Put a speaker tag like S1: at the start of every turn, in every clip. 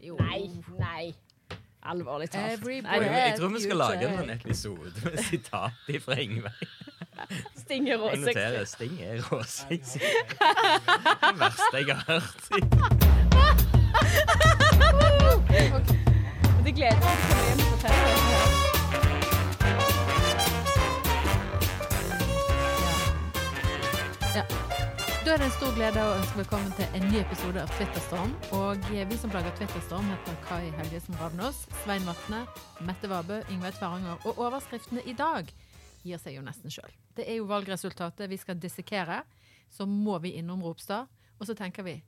S1: Jo.
S2: Nei. Nei. Alvorlig talt.
S1: Every
S2: Nei,
S1: breath
S3: Jeg tror vi skal
S1: you
S3: lage en
S1: take.
S3: sånn episode med sitat fra Ingveig.
S2: Sting er
S3: Jeg noterer
S2: råsexy.
S3: Sting er råsexy. Det verste jeg har hørt.
S2: Det gleder meg til å komme hjem og fortelle.
S1: Da er det en stor glede å ønske velkommen til en ny episode av Twitterstorm. Og eh, vi som plager Twitterstorm, heter Kai Helgesen Ravnås, Svein Vatne, Mette Vabø, Yngve Tvaranger. Og overskriftene i dag gir seg jo nesten sjøl. Det er jo valgresultatet vi skal dissekere. Så må vi innom Ropstad. Og så tenker vi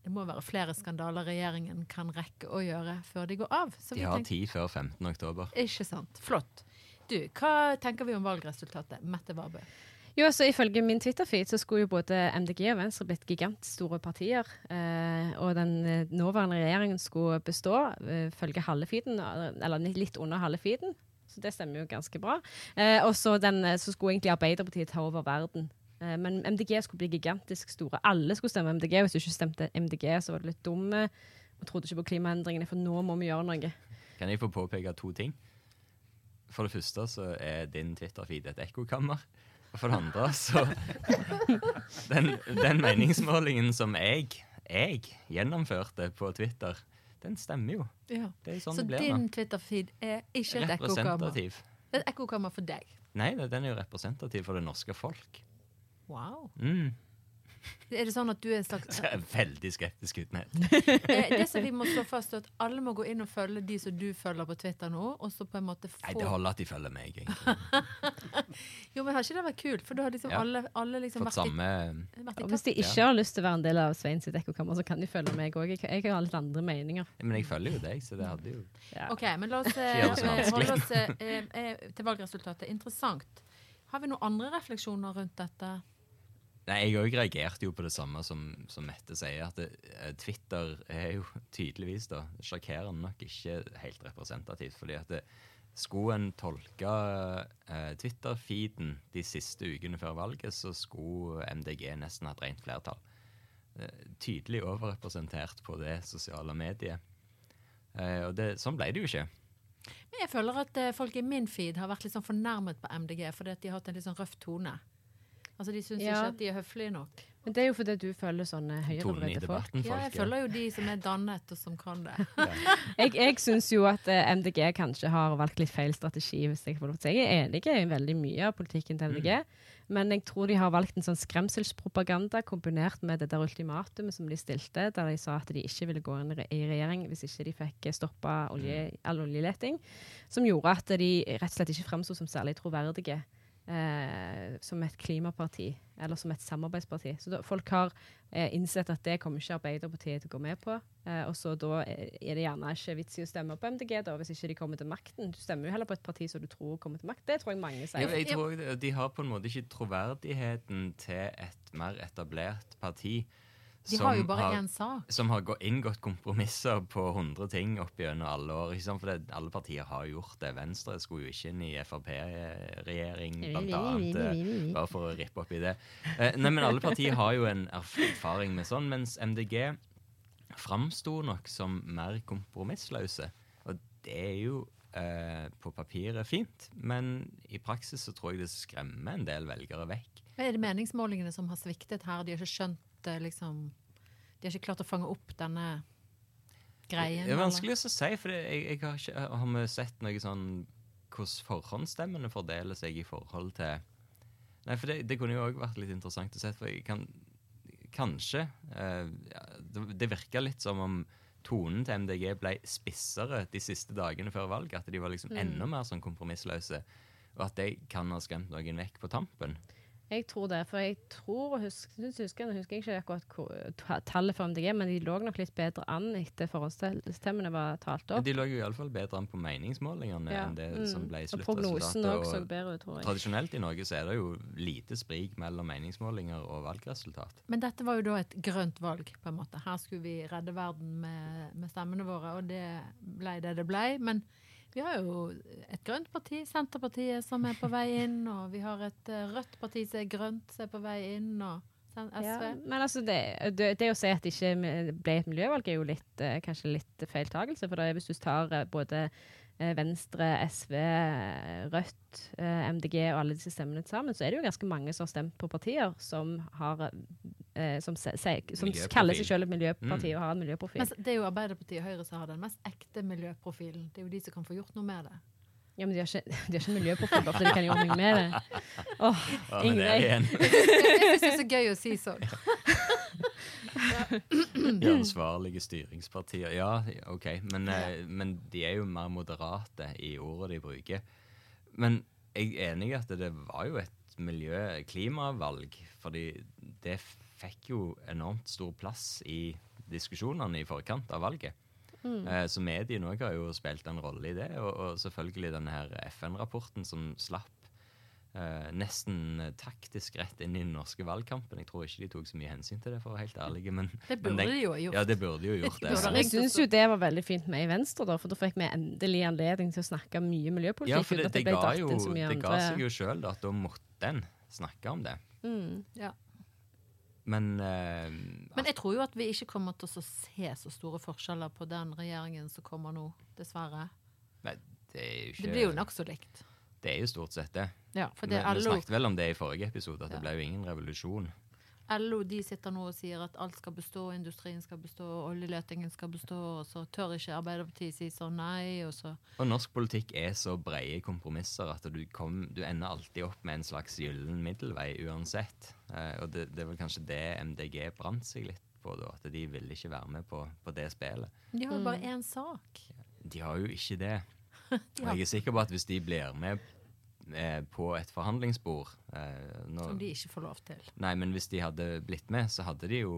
S1: det må være flere skandaler regjeringen kan rekke å gjøre før de går av. Så
S3: De
S1: vi
S3: har
S1: tenker-
S3: tid før 15. oktober.
S1: Ikke sant. Flott. Du, hva tenker vi om valgresultatet? Mette Vabø.
S2: Jo, så Ifølge min Twitter-feed så skulle jo både MDG og Venstre blitt gigantstore partier. Eh, og den eh, nåværende regjeringen skulle bestå, eh, følge halve feeden, eh, eller litt under halve feeden. Så det stemmer jo ganske bra. Eh, og så den, eh, så skulle egentlig Arbeiderpartiet ta over verden. Eh, men MDG skulle bli gigantisk store. Alle skulle stemme MDG. Hvis du ikke stemte MDG, så var du litt dum eh, og trodde ikke på klimaendringene, for nå må vi gjøre noe.
S3: Kan jeg få påpeke to ting? For det første så er din Twitter-feed et ekkokammer. Og for det andre så Den, den meningsmålingen som jeg, jeg gjennomførte på Twitter, den stemmer jo. Det er jo sånn
S1: Så
S3: det blir
S1: din
S3: nå.
S1: Twitter-feed er ikke et ekkokammer. Det
S3: Representativ.
S1: er et ekkokammer for deg.
S3: Nei, det- den er jo representativ for det norske folk.
S1: Wow.
S3: Mm.
S1: Er det sånn at du er en slags
S3: Så jeg er veldig skeptisk utenhet.
S1: Eh, Det som vi må slå fast, er at alle må gå inn og følge de som du følger på Twitter nå, og så på en måte få
S3: Nei, det holder at de følger meg. egentlig.
S1: Jo, men har ikke det vært kult? For da har liksom
S3: Ja.
S1: alle, alle liksom
S3: Fått
S1: vært i,
S3: samme
S1: vært i
S2: Og hvis de ikke har lyst til å være en del av Svein sitt ekkokammer, så kan de følge meg òg. Jeg, jeg har litt andre meninger.
S3: Men jeg følger jo deg, så det hadde jo
S2: Ja.
S1: OK, men la oss eh,
S3: Ikke gjør det så
S1: eh,
S3: vanskelig.
S1: holde oss eh, eh, til valgresultatet. Interessant. Har vi noen andre refleksjoner rundt dette?
S3: Nei, jeg òg reagerte jo på det samme som, som Mette sier, at det, eh, Twitter er jo tydeligvis da, sjokkerende nok ikke helt representativt. fordi at det, skulle en tolke eh, Twitter-feeden de siste ukene før valget, så skulle MDG nesten hatt rent flertall. Eh, tydelig overrepresentert på det sosiale mediet. Eh, og det, sånn ble det jo ikke.
S1: Men Jeg føler at eh, folk i min feed har vært litt sånn fornærmet på MDG fordi at de har hatt en litt sånn røff tone. Altså De syns
S2: Ja.
S1: ikke at de er høflige nok.
S2: Men det er jo fordi du føler sånne
S3: Tonen i
S2: høyrevridde folk.
S3: debatten,
S1: Ja, jeg
S3: folk. ja.
S1: følger jo de som er dannet, og som kan det.
S2: Jeg, jeg syns jo at eh, MDG kanskje har valgt litt feil strategi. hvis Jeg får lov til å si. Jeg er enig i veldig mye av politikken til MDG,
S3: Mm.
S2: men jeg tror de har valgt en sånn skremselspropaganda kombinert med det der ultimatumet som de stilte, der de sa at de ikke ville gå inn i re- i regjering hvis ikke de fikk stoppa
S3: Mm.
S2: olje, all oljeleting, som gjorde at de rett og slett ikke framsto som særlig troverdige. Eh, eh, som et klimaparti, eller som et samarbeidsparti. Så da, folk har eh, innsett at det kommer ikke Arbeiderpartiet til å gå med på. Eh, og så da er det gjerne ikke vits i å stemme på MDG da, hvis ikke de kommer til makten. Du stemmer jo heller på et parti som du tror kommer til makt. Det tror jeg mange
S3: Ja,
S2: sier.
S3: men jeg tror også De har på en måte ikke troverdigheten til et mer etablert parti.
S1: De har jo bare én sak.
S3: Som har gå- inngått kompromisser på 100 ting opp gjennom alle år. Ikke sant? For det, alle partier har gjort det. Venstre skulle jo ikke inn i Frp-regjering, blant annet. eh, Bare for å rippe opp i det. Eh, nei, men alle partier har jo en erf- erfaring med sånn, mens MDG framsto nok som mer kompromissløse. Og det er jo eh, på papiret fint, men i praksis så tror jeg det skremmer en del velgere vekk.
S1: Er det meningsmålingene som har sviktet her? De har ikke skjønt eh, liksom De har ikke klart å fange opp denne greien?
S3: Det er
S1: eller?
S3: vanskelig å si, for det- jeg, jeg har, ikke, har vi sett noe sånn hvordan forhåndsstemmene fordeler seg i forhold til Nei, for det, det kunne jo òg vært litt interessant å se, for jeg kan Kanskje eh, ja, Det, det virka litt som om tonen til MDG ble spissere de siste dagene før valget. At de var
S2: Mm.
S3: liksom enda mer sånn kompromissløse. Og at det kan ha skremt noen vekk på tampen.
S2: Jeg tror det, for jeg tror og husker, synes, husker, nå husker jeg ikke akkurat hvor, ta- tallet for MDG, men de lå nok litt bedre an etter forhåndsstemmene var talt opp.
S3: De lå jo iallfall bedre an på meningsmålingene
S2: Ja,
S3: enn det
S2: mm.
S3: som ble
S2: og prognosen
S3: sluttresultatet.
S2: òg så bedre ut, tror jeg.
S3: Tradisjonelt i Norge så er det jo lite sprik mellom meningsmålinger og valgresultat.
S1: Men dette var jo da et grønt valg, på en måte. Her skulle vi redde verden med, med stemmene våre, og det ble det det ble. Men vi har jo et grønt parti, Senterpartiet, som er på vei inn, og vi har et eh, rødt parti som er grønt, som er på vei inn, og sen- SV.
S2: Ja, men altså det, det, det å si at det ikke ble et miljøvalg, er jo litt, eh, kanskje litt feiltagelse. For da, hvis du tar eh, både eh, Venstre, SV, eh, Rødt, eh, MDG og alle disse stemmene til sammen, så er det jo ganske mange som har stemt på partier som, har, eh, som, se, se, som
S3: Miljøprofil.
S2: kaller seg selv et miljøparti og har en miljøprofil.
S1: Men det er jo Arbeiderpartiet og Høyre som har den mest ekte miljøprofilen. Det er jo de som kan få gjort noe med det.
S2: Ja, men de har ikke, de har ikke miljøprofil, bare fordi de kan gjøre noe med det. Åh, Ingrid.
S1: Jeg syns det er så gøy å si sånn. Mm.
S3: De ansvarlige styringspartier. Ja, OK, men, eh, men de er jo mer moderate i ordet de bruker. Men jeg er enig i at det var jo et miljø-klimavalg, fordi det fikk jo enormt stor plass i diskusjonene i forkant av valget.
S1: Mm.
S3: Eh, Så mediene òg har jo spilt en rolle i det, og, og selvfølgelig denne her FN-rapporten som slapp eh, nesten eh, taktisk rett inn i den norske valgkampen. Jeg tror ikke de tok så mye hensyn til det, for å være helt ærlig. Men,
S1: Det
S3: men
S1: burde de jo ha gjort.
S3: Ja, det burde de jo gjort.
S1: burde ha
S3: Det.
S2: Jeg syns jo det var veldig fint med i Venstre, da, for da fikk vi endelig anledning til å snakke mye miljøpolitikk.
S3: Ja, for
S2: uten
S3: det,
S2: at
S3: det,
S2: ble
S3: ga
S2: dratt
S3: jo,
S2: inn så mye
S3: det ga
S2: andre-
S3: seg jo sjøl at da måtte en snakke om det.
S1: Ja.
S3: Men eh,
S1: Men jeg tror jo at vi ikke kommer til å se så store forskjeller på den regjeringen som kommer nå, dessverre.
S3: nei, det er jo ikke
S1: Det blir jo nokså likt.
S3: det er jo stort sett det.
S1: Ja, for det
S3: vi,
S1: er
S3: vi
S1: LO,
S3: snakket vel om det i forrige episode, at det
S1: Ja.
S3: ble jo ingen revolusjon.
S1: LO de sitter nå og sier at alt skal bestå, industrien skal bestå, oljeletingen skal bestå, og så tør ikke Arbeiderpartiet si sånn nei, og så
S3: Og norsk politikk er så brede kompromisser at du, kom, du ender alltid opp med en slags gyllen middelvei uansett. Eh, og det, det er vel kanskje det MDG brant seg litt på, da, at de ville ikke være med på, på det spillet.
S1: De har jo bare én sak.
S3: De har jo ikke det. Og jeg er sikker på at hvis de blir med eh, på et forhandlingsbord eh, nå,
S1: Som de ikke får lov til.
S3: Nei, men hvis de hadde blitt med, så hadde de jo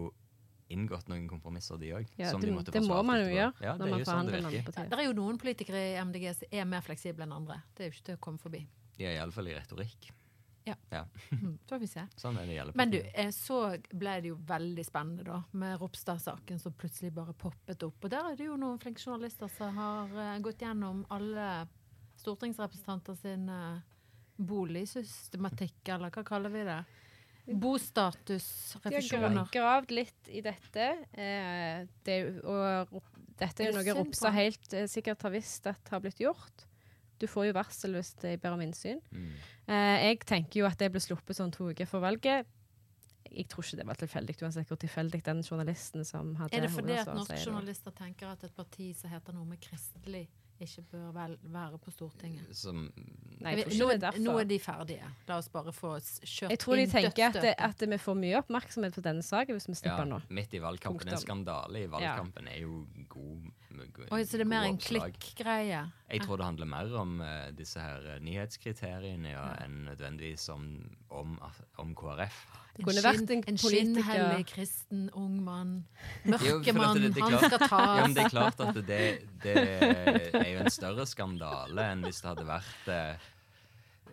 S3: inngått noen kompromisser, de òg.
S2: ja, det, det må man jo gjøre når
S3: sånn
S2: man forhandler med andre
S1: Det
S2: partier.
S1: er jo noen politikere i MDG som er mer fleksible enn andre. Det er jo ikke til å komme forbi.
S3: Ja, iallfall i retorikk.
S1: Ja.
S3: Ja,
S1: Mm, så får vi se.
S3: Sånn er det i alle
S1: Men du,
S3: partier.
S1: eh, så ble det jo veldig spennende da, med Ropstad-saken som plutselig bare poppet opp. Og der er det jo noen flinke journalister som har eh, gått gjennom alle stortingsrepresentanter sin eh, boligsystematikk, eller hva kaller vi det?
S2: De har
S1: Bostatusrefusjoner.
S2: gravd litt i dette. Eh, det, er jo- og Rop- dette er jo
S1: Det er
S2: noe
S1: synd på
S2: Ropstad
S1: han.
S2: helt eh, sikkert har visst at har blitt gjort. Du får jo varsel hvis de ber om innsyn.
S3: Mm.
S2: Eh, jeg tenker jo at det ble sluppet sånn to uker før valget. Jeg tror ikke det var tilfeldig, uansett hvor tilfeldig den journalisten som hadde
S1: Er det fordi at
S2: hovedansvaret
S1: norske
S2: sier det var.
S1: journalister tenker at et parti som heter noe med kristelig ikke bør vel være på Stortinget.
S3: Som
S2: Nei, jeg tror
S1: nå,
S2: ikke det er
S1: er- nå er
S2: derfor.
S1: de ferdige. La oss bare få s- kjørt
S2: Jeg tror de
S1: inn
S2: tenker at,
S1: dødsstøtet.
S2: at vi får mye oppmerksomhet på denne saken hvis vi
S3: ja,
S2: slipper den nå.
S3: midt i valgkampen. En
S2: Punktum.
S3: skandale i valgkampen er jo god, god
S1: Oi, så det er mer
S3: god
S1: en
S3: oppslag.
S1: klikk-greie.
S3: Jeg tror det handler mer om eh, disse her eh, nyhetskriteriene ja, enn nødvendigvis om, om, om KrF.
S2: Det kunne vært en
S1: en
S2: politiker-
S1: skinnhellig kristen ung mann.
S3: Jo, for at
S1: Mørkemann.
S3: det- det er
S1: Han
S3: klart-
S1: skal tas.
S3: Ja, men det er klart at det, det er jo en større skandale enn hvis det hadde vært eh,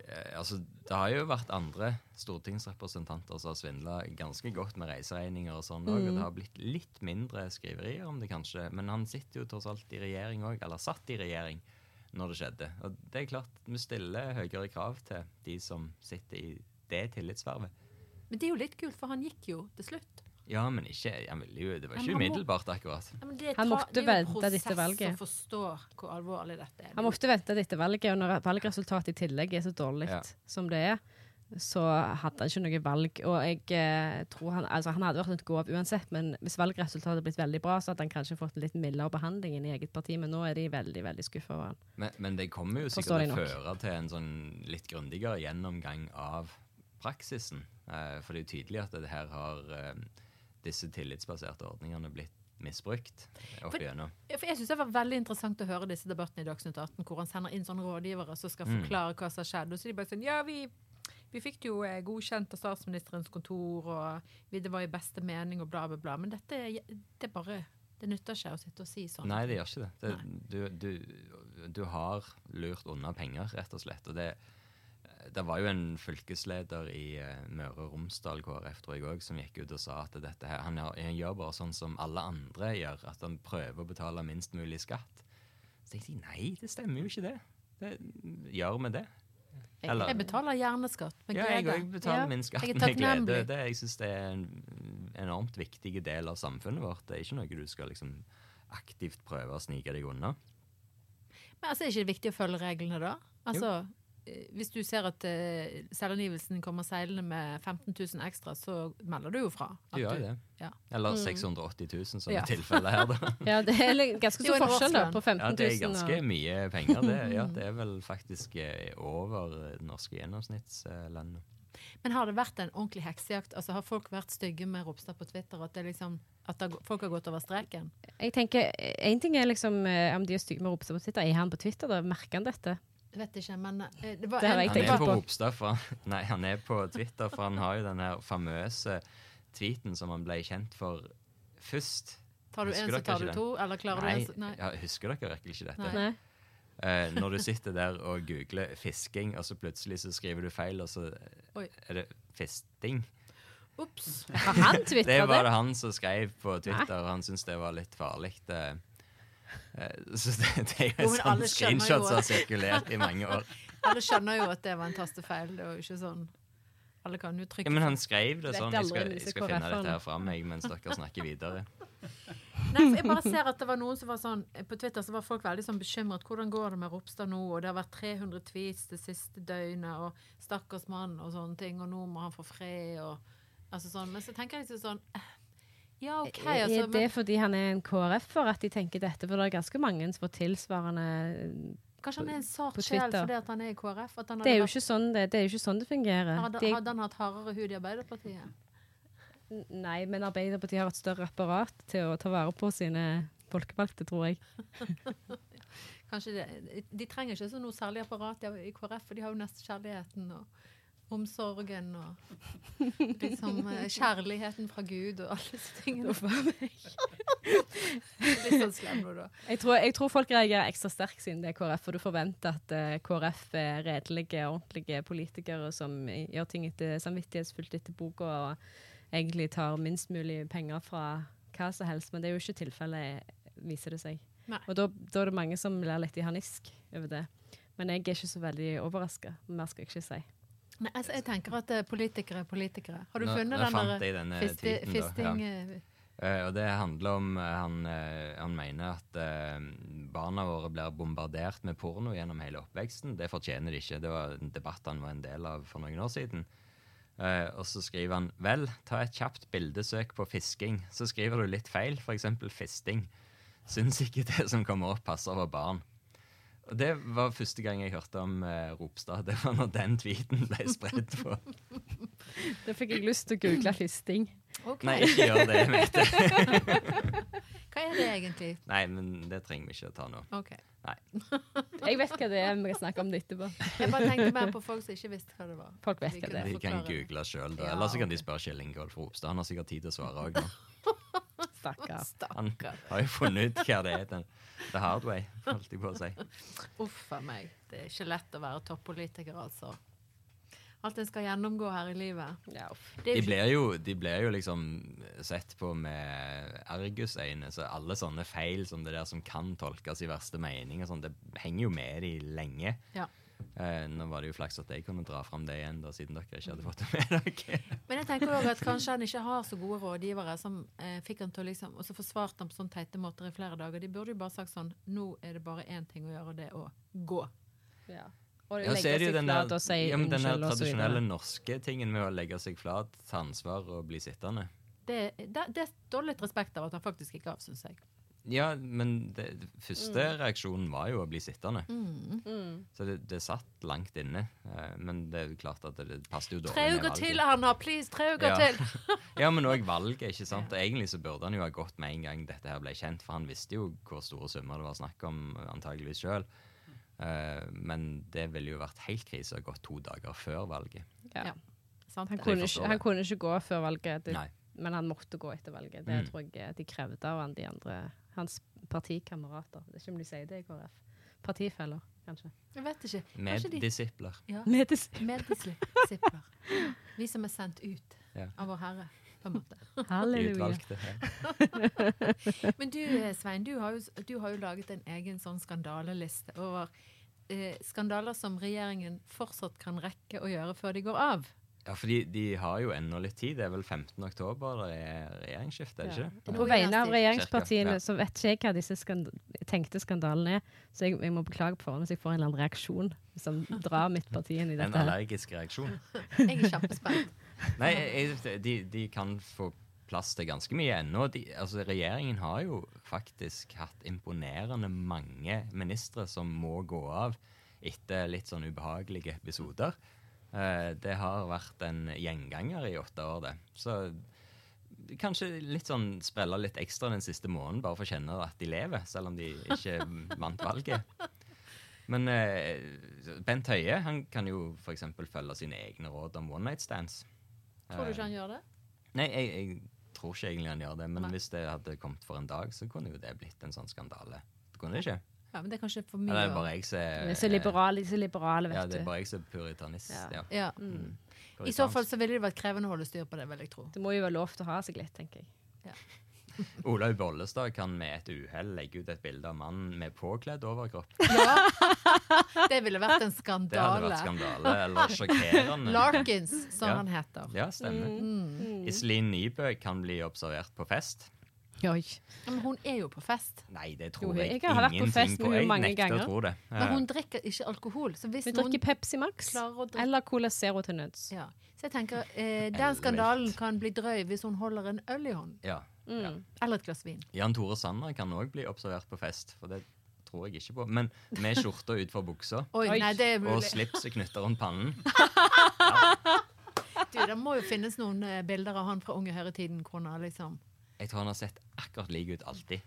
S3: eh, Altså, det har jo vært andre stortingsrepresentanter som har svindla ganske godt med reiseregninger og sånn òg, og
S1: Mm.
S3: det har blitt litt mindre skriverier om det, kanskje. Men han sitter jo tross alt i regjering òg, eller satt i regjering når det skjedde. Og det er klart, vi stiller høyere krav til de som sitter i det tillitsvervet.
S1: Men det er jo litt kult, for han gikk jo til slutt.
S3: Ja, men ikke han ville jo, Det var
S1: Men
S3: ikke
S1: han må-
S3: umiddelbart, akkurat.
S1: Ja, men det
S2: Han
S1: tar-
S2: måtte
S1: det er jo en
S2: vente dette
S1: prosess
S2: valget.
S1: å forstå hvor alvorlig dette er.
S2: Han måtte vente til etter valget, og når valgresultatet i tillegg er så dårlig
S3: Ja.
S2: som det er, så hadde han ikke noe valg. Og jeg eh, tror han, altså, han hadde vært nødt til å gå av uansett, men hvis valgresultatet hadde blitt veldig bra, så hadde han kanskje fått en litt mildere behandling enn i eget parti, men nå er de veldig, veldig skuffa over han.
S3: Men, men det kommer jo sikkert
S2: Forstår jeg
S3: til å
S2: nok.
S3: føre til en sånn litt grundigere gjennomgang av praksisen. Eh, for det er jo tydelig at det her har eh, disse tillitsbaserte ordningene blitt misbrukt opp
S1: For-
S3: igjennom.
S1: Ja, For jeg synes det var veldig interessant å høre disse debattene i Dagsnytt 18, hvor han sender inn sånne rådgivere som skal
S3: Mm.
S1: forklare hva som har skjedd. Og så er de bare sånn Ja, vi, vi fikk det jo eh, godkjent av statsministerens kontor, og vi, det var i beste mening, og bla, bla, bla. Men dette er- det er bare Det nytter ikke å sitte og si sånn.
S3: Nei, det gjør ikke det. det du, du, du har lurt unna penger, rett og slett. Og det, det var jo en fylkesleder i eh, Møre og Romsdal KrF tror jeg også, som gikk ut og sa at dette her, han, har- han gjør bare sånn som alle andre gjør, at han prøver å betale minst mulig skatt. Så tenkte jeg nei, det stemmer jo ikke det. det gjør vi det? Eller-
S1: Jeg betaler gjerne skatt med
S3: ja, jeg
S1: glede.
S3: òg betaler
S1: Ja.
S3: min skatt
S1: Jeg er
S3: med glede.
S1: takknemlig.
S3: Det, jeg synes det er en enormt viktig del av samfunnet vårt. Det er ikke noe du skal liksom aktivt prøve å snike deg unna.
S1: Men altså, er ikke det viktig å følge reglene da? Altså, eh, hvis du ser at eh, selvangivelsen kommer seilende med 15 000 ekstra, så melder du jo fra. at
S3: Du gjør jo det.
S1: Ja. Mm.
S3: Eller 680 000, som
S1: Ja.
S3: er tilfellet her, da.
S2: Ja, det er li- ganske
S1: Det er
S2: stor
S1: jo en
S2: forskjell da,
S1: årslønn.
S2: på 15
S3: Ja,
S2: 000
S3: det er ganske
S2: og
S3: mye penger. Det, ja, det er vel faktisk eh, over eh, det norske gjennomsnittslandet.
S1: Men har det vært en ordentlig heksejakt? Altså, har folk vært stygge med Ropstad på Twitter? At, det liksom, at det, folk har gått over streken?
S2: Jeg tenker, En ting er liksom eh, om de er stygge med Ropstad på Twitter. Er han på Twitter, da? Merker han dette?
S1: Jeg Vet ikke, men eh, det var
S2: Det
S1: en,
S2: har jeg
S3: Han
S2: tenker
S3: er på
S2: på.
S3: Ropstad, for Nei, han er på Twitter, for han har jo den her famøse tweeten som han ble kjent for først.
S1: Tar du
S3: Husker
S1: en,
S3: dere
S1: så tar
S3: ikke
S1: du
S3: den?
S1: to? Eller klarer du
S3: Nei,
S1: en, så nei.
S3: Ja, husker dere virkelig ikke dette?
S2: Nei.
S3: Eh, når du sitter der og googler 'fisking', og så plutselig så skriver du feil, og så
S1: Oi.
S3: er det 'fisting'.
S1: Ops.
S2: Har han
S3: Det
S2: twitra
S3: var
S2: det?
S3: det han som skrev på Twitter, og han syntes det var litt farlig. Det, eh, så det, det er
S1: Jo,
S3: jo
S1: men alle skjønner
S3: sånne
S1: jo
S3: screenshots som har
S1: at-
S3: sirkulert i mange år.
S1: Alle skjønner jo at det var en tastefeil. Det var jo ikke sånn. Alle kan jo trykke
S3: Ja, men han skrev det
S2: Vet
S3: sånn.
S2: aldri
S3: Jeg skal,
S2: disse
S3: jeg skal finne
S2: KrF-erne.
S3: dette her fra meg mens dere snakker videre.
S1: Nei, for jeg bare ser at det var noen som var sånn På Twitter så var folk veldig sånn bekymret. Hvordan går det med Ropstad nå? Og det har vært 300 tweets det siste døgnet, og stakkars mann og sånne ting, og nå må han få fred, og altså sånn. Men så tenker jeg liksom sånn eh, Ja, OK, altså.
S2: er det
S1: Men
S2: fordi han er en KrF-er at de tenker dette? For det er ganske mange som får tilsvarende
S1: kanskje han er en
S2: på
S1: sart sjel
S2: Twitter.
S1: fordi at han er i KrF? At han
S2: Det er
S1: hadde,
S2: jo ikke sånn det, det, er jo ikke sånn det fungerer.
S1: vært, hadde,
S2: De,
S1: hadde han hatt hardere hud i Arbeiderpartiet?
S2: nei, men Arbeiderpartiet har et større apparat til å ta vare på sine folkevalgte, tror jeg.
S1: Kanskje det, De trenger ikke så noe særlig apparat i i KrF, for de har jo nestekjærligheten og omsorgen og liksom eh, kjærligheten fra Gud og alle disse tingene. Litt sånn slem nå, da.
S2: Jeg tror, jeg tror folk reagerer ekstra sterkt siden det er KrF, for du forventer at eh, KrF er redelige, ordentlige politikere som gjør ting etter samvittighetsfullt etter boka og egentlig tar minst mulig penger fra hva som helst, men det er jo ikke tilfellet, viser det seg.
S1: Nei.
S2: Og da, da er det mange som blir litt i harnisk over det. Men jeg er ikke så veldig overraska. Mer skal jeg ikke si.
S1: Nei, altså, jeg tenker at eh, politikere er politikere. Har du
S3: Nå-
S1: funnet
S3: nå
S1: den
S3: fant
S1: der
S3: jeg denne
S1: fisti-
S3: tweeten, da, ja.
S1: fisting eh,
S3: Eh, og det handler om eh, han, eh, han mener at eh, barna våre blir bombardert med porno gjennom hele oppveksten. Det fortjener de ikke. Det var en debatt han var en del av for noen år siden. Eh, og så skriver han vel, ta et kjapt bildesøk på fisking. Så skriver du litt feil, f.eks. fisting. Syns ikke det som kommer opp, passer for barn. Og Det var første gang jeg hørte om eh, Ropstad. Det var når den tweeten ble spredd på.
S2: Da fikk jeg lyst til å google fisting.
S1: Ok.
S3: Nei, ikke gjør det, Mette.
S1: Hva er det egentlig?
S3: Nei, men det trenger vi ikke å ta nå.
S1: Ok.
S2: Jeg vet hva det er, men vi kan snakke om det etterpå.
S1: Jeg bare tenkte mer på folk som ikke visste hva det var.
S2: Folk vet
S1: Vi
S2: hva
S1: kunne
S2: det er.
S3: De kan
S1: forklare det.
S3: google sjøl, da.
S1: Ja,
S3: Eller så kan de
S1: ok.
S3: spørre Kjell Ingolf Ropstad. Han har sikkert tid til å svare òg nå.
S2: Stakkar.
S3: Han
S1: Stakkar.
S3: har jo funnet ut hva det er. Den, the hard way, holdt jeg på å si.
S1: Uff a meg. Det er ikke lett å være toppolitiker, altså. Alt en skal gjennomgå her i livet.
S2: Ja,
S1: Det
S3: De
S1: er jo
S3: blir jo, de blir jo liksom sett på med argusøyne, så alle sånne feil som det der som kan tolkes i verste mening, og sånn, det henger jo med de lenge.
S1: ikke- ja.
S3: Eh, nå var det jo flaks at jeg kunne dra fram det igjen, da, siden dere ikke hadde fått det med dere.
S1: Men jeg tenker også at kanskje han ikke har så gode rådgivere som eh, fikk han til å liksom Og så forsvarte han på sånne teite måter i flere dager. De burde jo bare sagt sånn Nå er det bare én ting å gjøre, og det er å gå.
S2: Ja. Og
S3: Ja, så er det jo den der,
S2: og si
S3: ja, men den der
S2: unnskyld og så videre.
S3: tradisjonelle norske tingen med å legge seg flat, ta ansvar og bli sittende.
S1: Det, det, det står litt respekt av at han faktisk gikk av, syns jeg.
S3: Ja, men det, det første
S1: Mm.
S3: reaksjonen var jo å bli sittende. Så det, det satt langt inne. eh, Men det er jo klart at det, det passet jo dårlig
S1: Tre
S3: med
S1: uker
S3: valget.
S1: til, Anna! Please, tre uker
S3: Ja.
S1: til!
S3: Ja, men òg valget, ikke sant. Og Egentlig så burde han jo ha gått med en gang dette her ble kjent, for han visste jo hvor store summer det var snakk om, antageligvis sjøl. men det ville jo vært helt krise å ha gått to dager før valget.
S2: Ja.
S1: Ja. Sant
S2: Han,
S1: det?
S3: Jeg
S2: kunne ikke,
S3: forstår
S2: han
S3: det.
S2: kunne ikke gå før valget, det,
S3: Nei. Mm.
S2: men han måtte gå etter valget. Det tror jeg eh, de krevde av han, de andre, hans partikamerater. Det er ikke om de sier det i KrF. Partifeller, kanskje.
S1: Jeg vet ikke.
S3: Med
S1: Kanskje de
S3: disipler.
S1: ja.
S2: Medes.
S1: Meddisipler. Vi som er sendt ut
S3: Ja.
S1: av vår Herre, på en måte.
S3: De
S2: Halleluja.
S3: utvalgte.
S1: Men du eh, Svein, du har jo, du har jo laget en egen sånn skandaleliste over eh, skandaler som regjeringen fortsatt kan rekke å gjøre før de går av.
S3: Ja, for de, de har jo ennå litt tid. Det er vel 15. oktober det er regjeringsskifte, er det ikke?
S2: På vegne av
S3: Cirka,
S2: regjeringspartiene
S3: ja.
S2: så vet ikke jeg hva disse skand tenkte skandalene er, så jeg, jeg må beklage på forhånd hvis jeg får en eller annen reaksjon som drar mitt parti inn i
S3: En
S2: dette. her.
S3: allergisk reaksjon.
S1: Jeg er kjempespent.
S3: Nei, jeg, jeg- de, de kan få plass til ganske mye ennå. De, altså, regjeringen har jo faktisk hatt imponerende mange ministre som må gå av etter litt sånn ubehagelige episoder. Eh, det har vært en gjenganger i åtte år, det. Så kanskje litt sånn sprelle litt ekstra den siste måneden, bare for å kjenne at de lever, selv om de ikke vant valget. Men eh, Bent Høie han kan jo f.eks. følge sine egne råd om one night stands.
S1: Tror du ikke han gjør det?
S3: Nei, jeg, jeg tror ikke egentlig han gjør det, men
S1: Nei.
S3: hvis det hadde kommet for en dag, så kunne jo det blitt en sånn skandale. Kunne det ikke?
S1: Ja, men det er kanskje for mye.
S3: Eller er det
S1: å-
S3: bare jeg som
S2: De er Så liberale, de er så liberale,
S3: Ja,
S2: vet
S3: det er
S2: du.
S3: bare jeg som er puritanist.
S2: Ja.
S3: Ja.
S1: Ja.
S3: Mm.
S1: I så fall så ville det vært krevende å holde styr på det, vil jeg tro.
S2: Det må jo være lov til å ha seg litt, tenker jeg.
S3: Olaug Bollestad kan med et uhell legge ut et bilde av mannen med påkledd overkropp.
S1: Det ville vært en
S3: Det hadde
S1: skandale.
S3: vært skandale, eller sjokkerende.
S1: Larkins, som
S3: Ja.
S1: han heter.
S3: Ja,
S2: Mm.
S3: stemmer. Iselin Nybø kan bli observert på fest.
S2: Oi.
S1: Men hun er jo på fest.
S3: Nei, det
S2: Jo,
S3: tror jeg,
S2: jeg har vært på
S3: ingenting
S2: fest med henne
S3: Jeg
S2: mange
S3: nekter
S2: ganger.
S3: å tro det.
S1: Men hun drikker ikke alkohol. Så hvis
S2: Vi
S1: noen
S2: drikker Pepsi Max
S1: klarer å drikke-
S2: eller Cola Zero til nøds.
S1: ja. Så jeg tenker, eh, den
S3: Elvilt.
S1: skandalen kan bli drøy hvis hun holder en øl i hånden.
S3: Ja.
S2: Mm.
S3: ja.
S1: Eller et glass vin.
S3: Jan Tore Sanner kan òg bli observert på fest, for det tror jeg ikke på. Men med skjorta utfor buksa
S1: Oi,
S2: Oi.
S1: nei, det er
S3: og
S1: mulig.
S3: slipset knytta rundt pannen.
S1: Du, det må jo finnes noen eh, bilder av han fra Unge Høyre-tiden. hvor han har Liksom.
S3: Jeg tror han har sett akkurat lik ut alltid.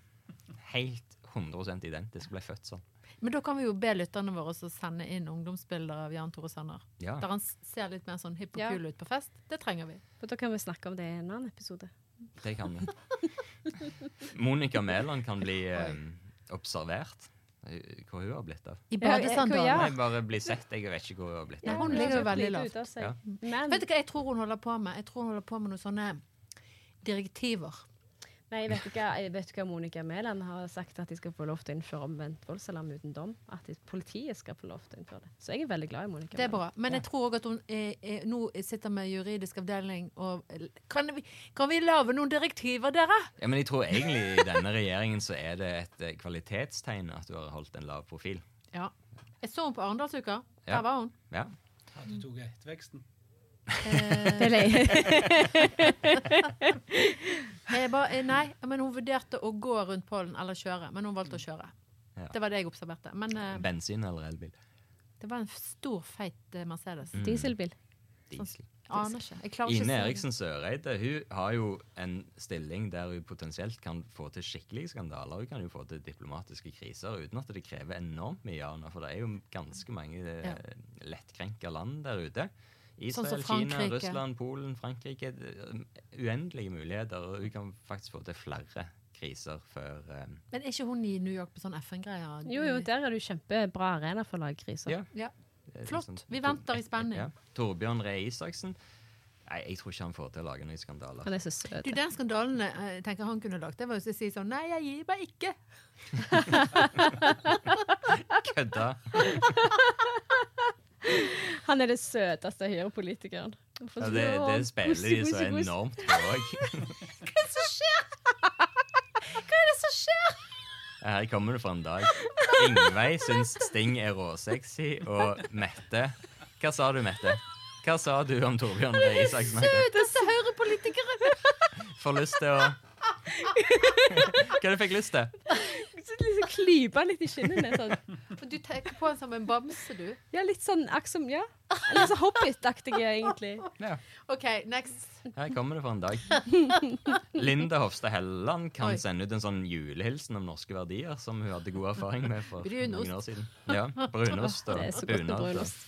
S3: Helt 100 identisk. Ble født sånn.
S1: Men da kan vi jo be lytterne våre også sende inn ungdomsbilder av Jan Tore Sanner.
S3: Ja.
S1: Der han s- ser litt mer sånn hipp og
S2: Ja.
S1: kul ut på fest. Det trenger vi.
S2: For da kan vi snakke om det i en annen episode.
S3: Det kan vi. Monica Mæland kan bli eh, observert. Hvor hun har blitt av.
S1: I
S2: Ja, jeg-
S1: badesandaler.
S2: ja.
S3: Nei, bare bli sett. Jeg vet ikke hvor hun har blitt
S1: Nei,
S3: av.
S1: hun ligger jo
S2: Ja,
S1: veldig
S2: lite
S1: lavt.
S2: ute av seg.
S3: Ja.
S2: Men
S1: Vet du hva jeg tror hun holder på med? Jeg tror hun holder på med noen sånne direktiver.
S2: Nei, vet du hva, jeg vet du hva Monica Mæland har sagt at de skal få lov til å innføre omvendt voldsalarm uten dom? At de- politiet skal få lov til å innføre det. Så jeg er veldig glad i Monica
S1: Det er
S2: Mæland.
S1: bra. Men jeg tror òg at hun eh, eh, nå sitter med juridisk avdeling og Kan vi, kan vi lage noen direktiver, dere?
S3: Ja, men jeg tror egentlig i denne regjeringen så er det et eh, kvalitetstegn at du har holdt en lav profil.
S1: Ja. Jeg så henne på Arendalsuka.
S3: Ja.
S1: Der var hun.
S3: Ja.
S4: At du tok etterveksten.
S2: Det er lei.
S1: Jeg ba, eh, nei, men hun vurderte å gå rundt pollen eller kjøre, men hun valgte å kjøre.
S3: Ja.
S1: Det var det jeg observerte. Men eh,
S3: Bensin eller elbil?
S1: det var en stor, feit eh, Mercedes.
S2: Dieselbil.
S1: Sånn.
S3: Diesel.
S1: Aner ikke. Jeg klarer ikke
S3: Mm.
S1: å
S3: Ine
S1: se det.
S3: Eriksen Søreide hun har jo en stilling der hun potensielt kan få til skikkelige skandaler. Hun kan jo få til diplomatiske kriser uten at det krever enormt mye av henne. For det er jo ganske mange eh,
S1: Ja. Sånn
S3: lettkrenka land der ute.
S1: som
S3: Israel, Kina,
S1: Frankrike.
S3: Russland, Polen, Frankrike. eh, Uendelige muligheter. Og hun kan faktisk få til flere kriser før eh,
S1: Men er ikke hun i New York på sånn FN-greier?
S2: Jo, jo, der er du kjempebra arena for å lage kriser.
S3: Ja.
S1: Ja.
S3: det er
S1: Flott.
S3: liksom
S1: Vi
S3: Tor-
S1: venter i spenning.
S3: Ja. Torbjørn Ree Isaksen. Nei, jeg tror ikke han får til å lage noen skandaler.
S2: Han er så søt.
S1: Du, Den skandalen eh, jeg tenker han kunne lagt, det var jo å si sånn Nei, jeg gir meg ikke.
S3: Kødda!
S2: Han er det søteste høyrepolitikeren.
S3: Ja, det, det spiller de så enormt på òg.
S2: Hva er det som skjer? Hva er det som skjer?
S3: Her kommer det fra en dag. Ingveig syns Sting er råsexy, og Mette Hva sa du, Mette? Hva sa du om Torbjørn Røe Isaksen? Mette?
S2: Søteste høyrepolitikeren!
S3: Får lyst til å Hva du fikk lyst til?
S2: Så liksom klyper litt i skinnene. Sånn.
S1: For du tenker på han som en bamse, du.
S2: Ja, litt sånn aksom, ja. Litt sånn Hobbit-aktig, egentlig.
S3: Ja.
S1: OK, next.
S3: Her kommer det fra en dag. Linda Hofstad Helleland kan
S1: Oi.
S3: sende ut en sånn julehilsen om norske verdier som hun hadde god erfaring med for
S1: Brunost.
S3: noen år siden. Ja, brunost og
S2: Det er så godt med
S3: bunad og-
S2: brunost.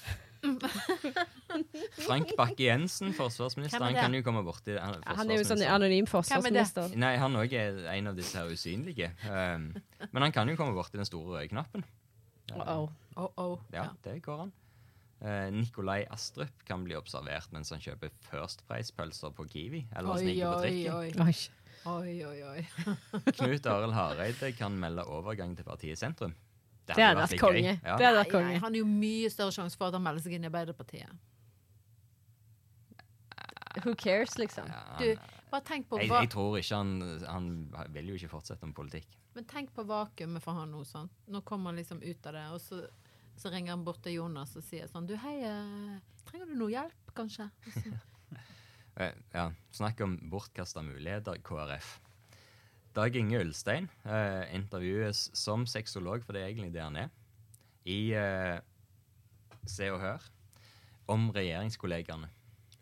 S3: Frank Bakke-Jensen, forsvarsminister,
S1: Hvem er
S3: han
S1: det?
S3: kan jo komme borti
S2: Han er jo sånn anonym forsvarsminister.
S3: Nei, han òg er en av disse her usynlige. Um, men han kan jo komme borti den store røde knappen.
S2: Oh,
S1: Oh, oh.
S3: Ja, det går han. Uh, Nikolai Astrup kan bli observert mens han kjøper First Price-pølser på Kiwi. Eller
S1: Oi,
S3: sniker på
S1: oi,
S3: trikken.
S1: oi.
S2: Oi.
S1: Oi, oi, oi.
S3: Knut Arild Hareide kan melde overgang til partiet Sentrum.
S2: Det hadde vært
S3: litt
S2: konge.
S3: gøy. Ja.
S2: Det hadde vært
S1: Nei, nei,
S2: konge.
S1: han er jo mye større sjanse for at han melder seg inn i Arbeiderpartiet.
S2: Who cares, liksom.
S1: Du, bare tenk på,
S3: Jeg,
S1: va
S3: jeg tror ikke han Han vil jo ikke fortsette med politikk.
S1: men tenk på vakuumet for han nå. Sant? Nå kommer han liksom ut av det, og så, så ringer han bort til Jonas og sier sånn Du, hei, eh, trenger du noe hjelp, kanskje? Og Så,
S3: Eh, Ja, Snakk om bortkasta muligheter, KrF. Dag Inge Ulstein eh, intervjues som sexolog, for det er egentlig det han er, i eh, Se og Hør om regjeringskollegaene.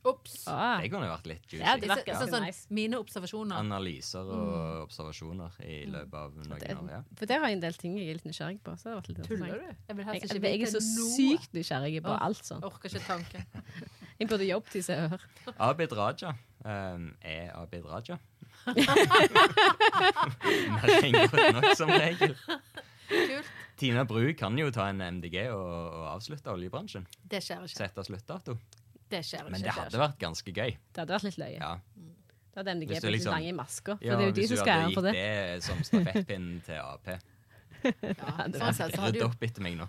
S1: Ops!
S2: Ah,
S3: Det kunne vænn vært litt
S2: Ja, det
S3: juicy.
S1: Så, så,
S2: virker så
S1: sånn,
S2: nice.
S1: mine observasjoner.
S3: Analyser og observasjoner i løpet av
S2: Mm. det,
S3: noen år. ja.
S2: for der har jeg en del ting jeg er litt nysgjerrig på. Så det har vært litt
S1: Tuller
S2: interessant.
S1: du? Jeg vil
S2: Jeg,
S1: helst ikke
S2: jeg er
S1: vite
S2: så
S1: noe.
S2: sykt nysgjerrig på alt sånt.
S1: Orker ikke tanken.
S2: Jeg burde jobbe til jeg hører.
S3: Abid Raja ehm, er Abid Raja. Mer inngrøt nok, som regel.
S1: Kult.
S3: Tina Bru kan jo ta en MDG og, og avslutte oljebransjen.
S1: Det skjer ikke.
S3: Sette sluttdato.
S1: Det skjer ikke.
S3: Men det hadde vært ganske gøy.
S2: Det hadde vært litt løye.
S3: Ja.
S2: Da hadde MDG
S3: Hvis du liksom-
S2: blitt liksom, lange i masker. For
S3: Ja,
S2: det er jo de
S3: hvis
S2: som
S3: du
S2: skal
S3: hadde
S2: æren for
S3: gitt
S2: det.
S3: det som stafettpinnen til Ap.
S1: Ja,
S2: det
S1: sånn sett så hadde
S3: Rydd
S1: jo
S3: opp etter meg nå.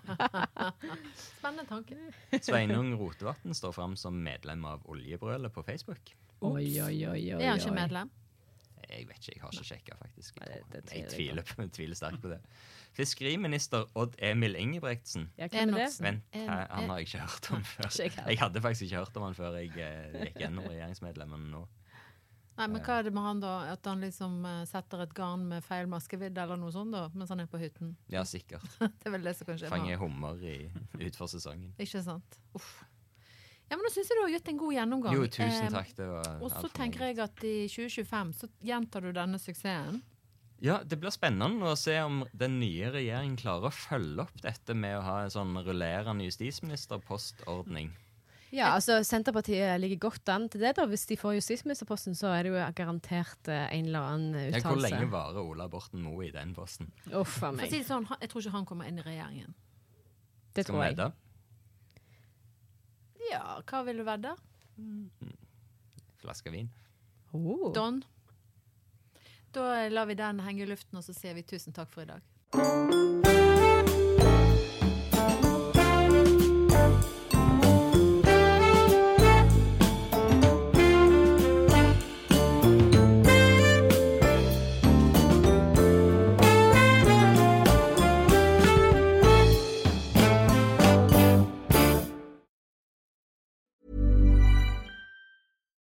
S1: Spennende tanke.
S3: Sveinung Rotevatn står fram som medlem av Oljebrølet på Facebook.
S2: Oi, oi, oi, oi,
S1: Er han ikke
S2: oi.
S1: medlem?
S3: Jeg vet ikke, jeg har ikke sjekka, faktisk. Jeg,
S2: Nei, det- det
S3: tror- jeg
S2: tviler
S3: tviler, på- tviler sterkt på det. Fiskeriminister Odd Emil Ingebrigtsen.
S2: Ja, hvem er det?
S1: Enoksen.
S3: Vent,
S1: En-
S3: hæ, han
S1: en-
S3: har jeg ikke hørt om før.
S2: Ikke jeg heller.
S3: Jeg hadde faktisk ikke hørt om han før jeg eh, gikk gjennom regjeringsmedlemmene nå.
S1: Nei, men Hva er det med han, da? At han liksom eh, setter et garn med feil maskevidde eller noe sånt da, mens han er på hytten?
S3: Ja, sikkert.
S1: Det er vel det som kanskje er med
S3: Fanger hummer i- utfor sesongen.
S1: han. Ikke sant? Uff. Ja, men Nå syns jeg du har gitt en god gjennomgang.
S3: Jo, tusen
S1: Eh,
S3: takk. Det var
S1: og så
S3: alt for meg.
S1: tenker jeg at i 2025 så gjentar du denne suksessen.
S3: Ja, Det blir spennende å se om den nye regjeringen klarer å følge opp dette med å ha en sånn rullerende justisministerpostordning.
S2: Ja, altså Senterpartiet ligger godt an til det. da Hvis de får justisministerposten, så er det jo garantert eh, en eller annen
S3: Ja, hvor lenge
S2: uttalelse.
S3: varer Ola Borten Moe i den posten?
S2: Uff a
S1: For å
S2: meg.
S1: si det sånn, han- Jeg tror ikke han kommer inn i regjeringen.
S2: Det
S3: Skal vi
S2: tror jeg.
S3: vedde?
S1: Ja, hva vil du vedde?
S3: Flaske vin?
S2: Oh.
S1: Don? Da eh, lar vi den henge i luften, og så sier vi tusen takk for i dag.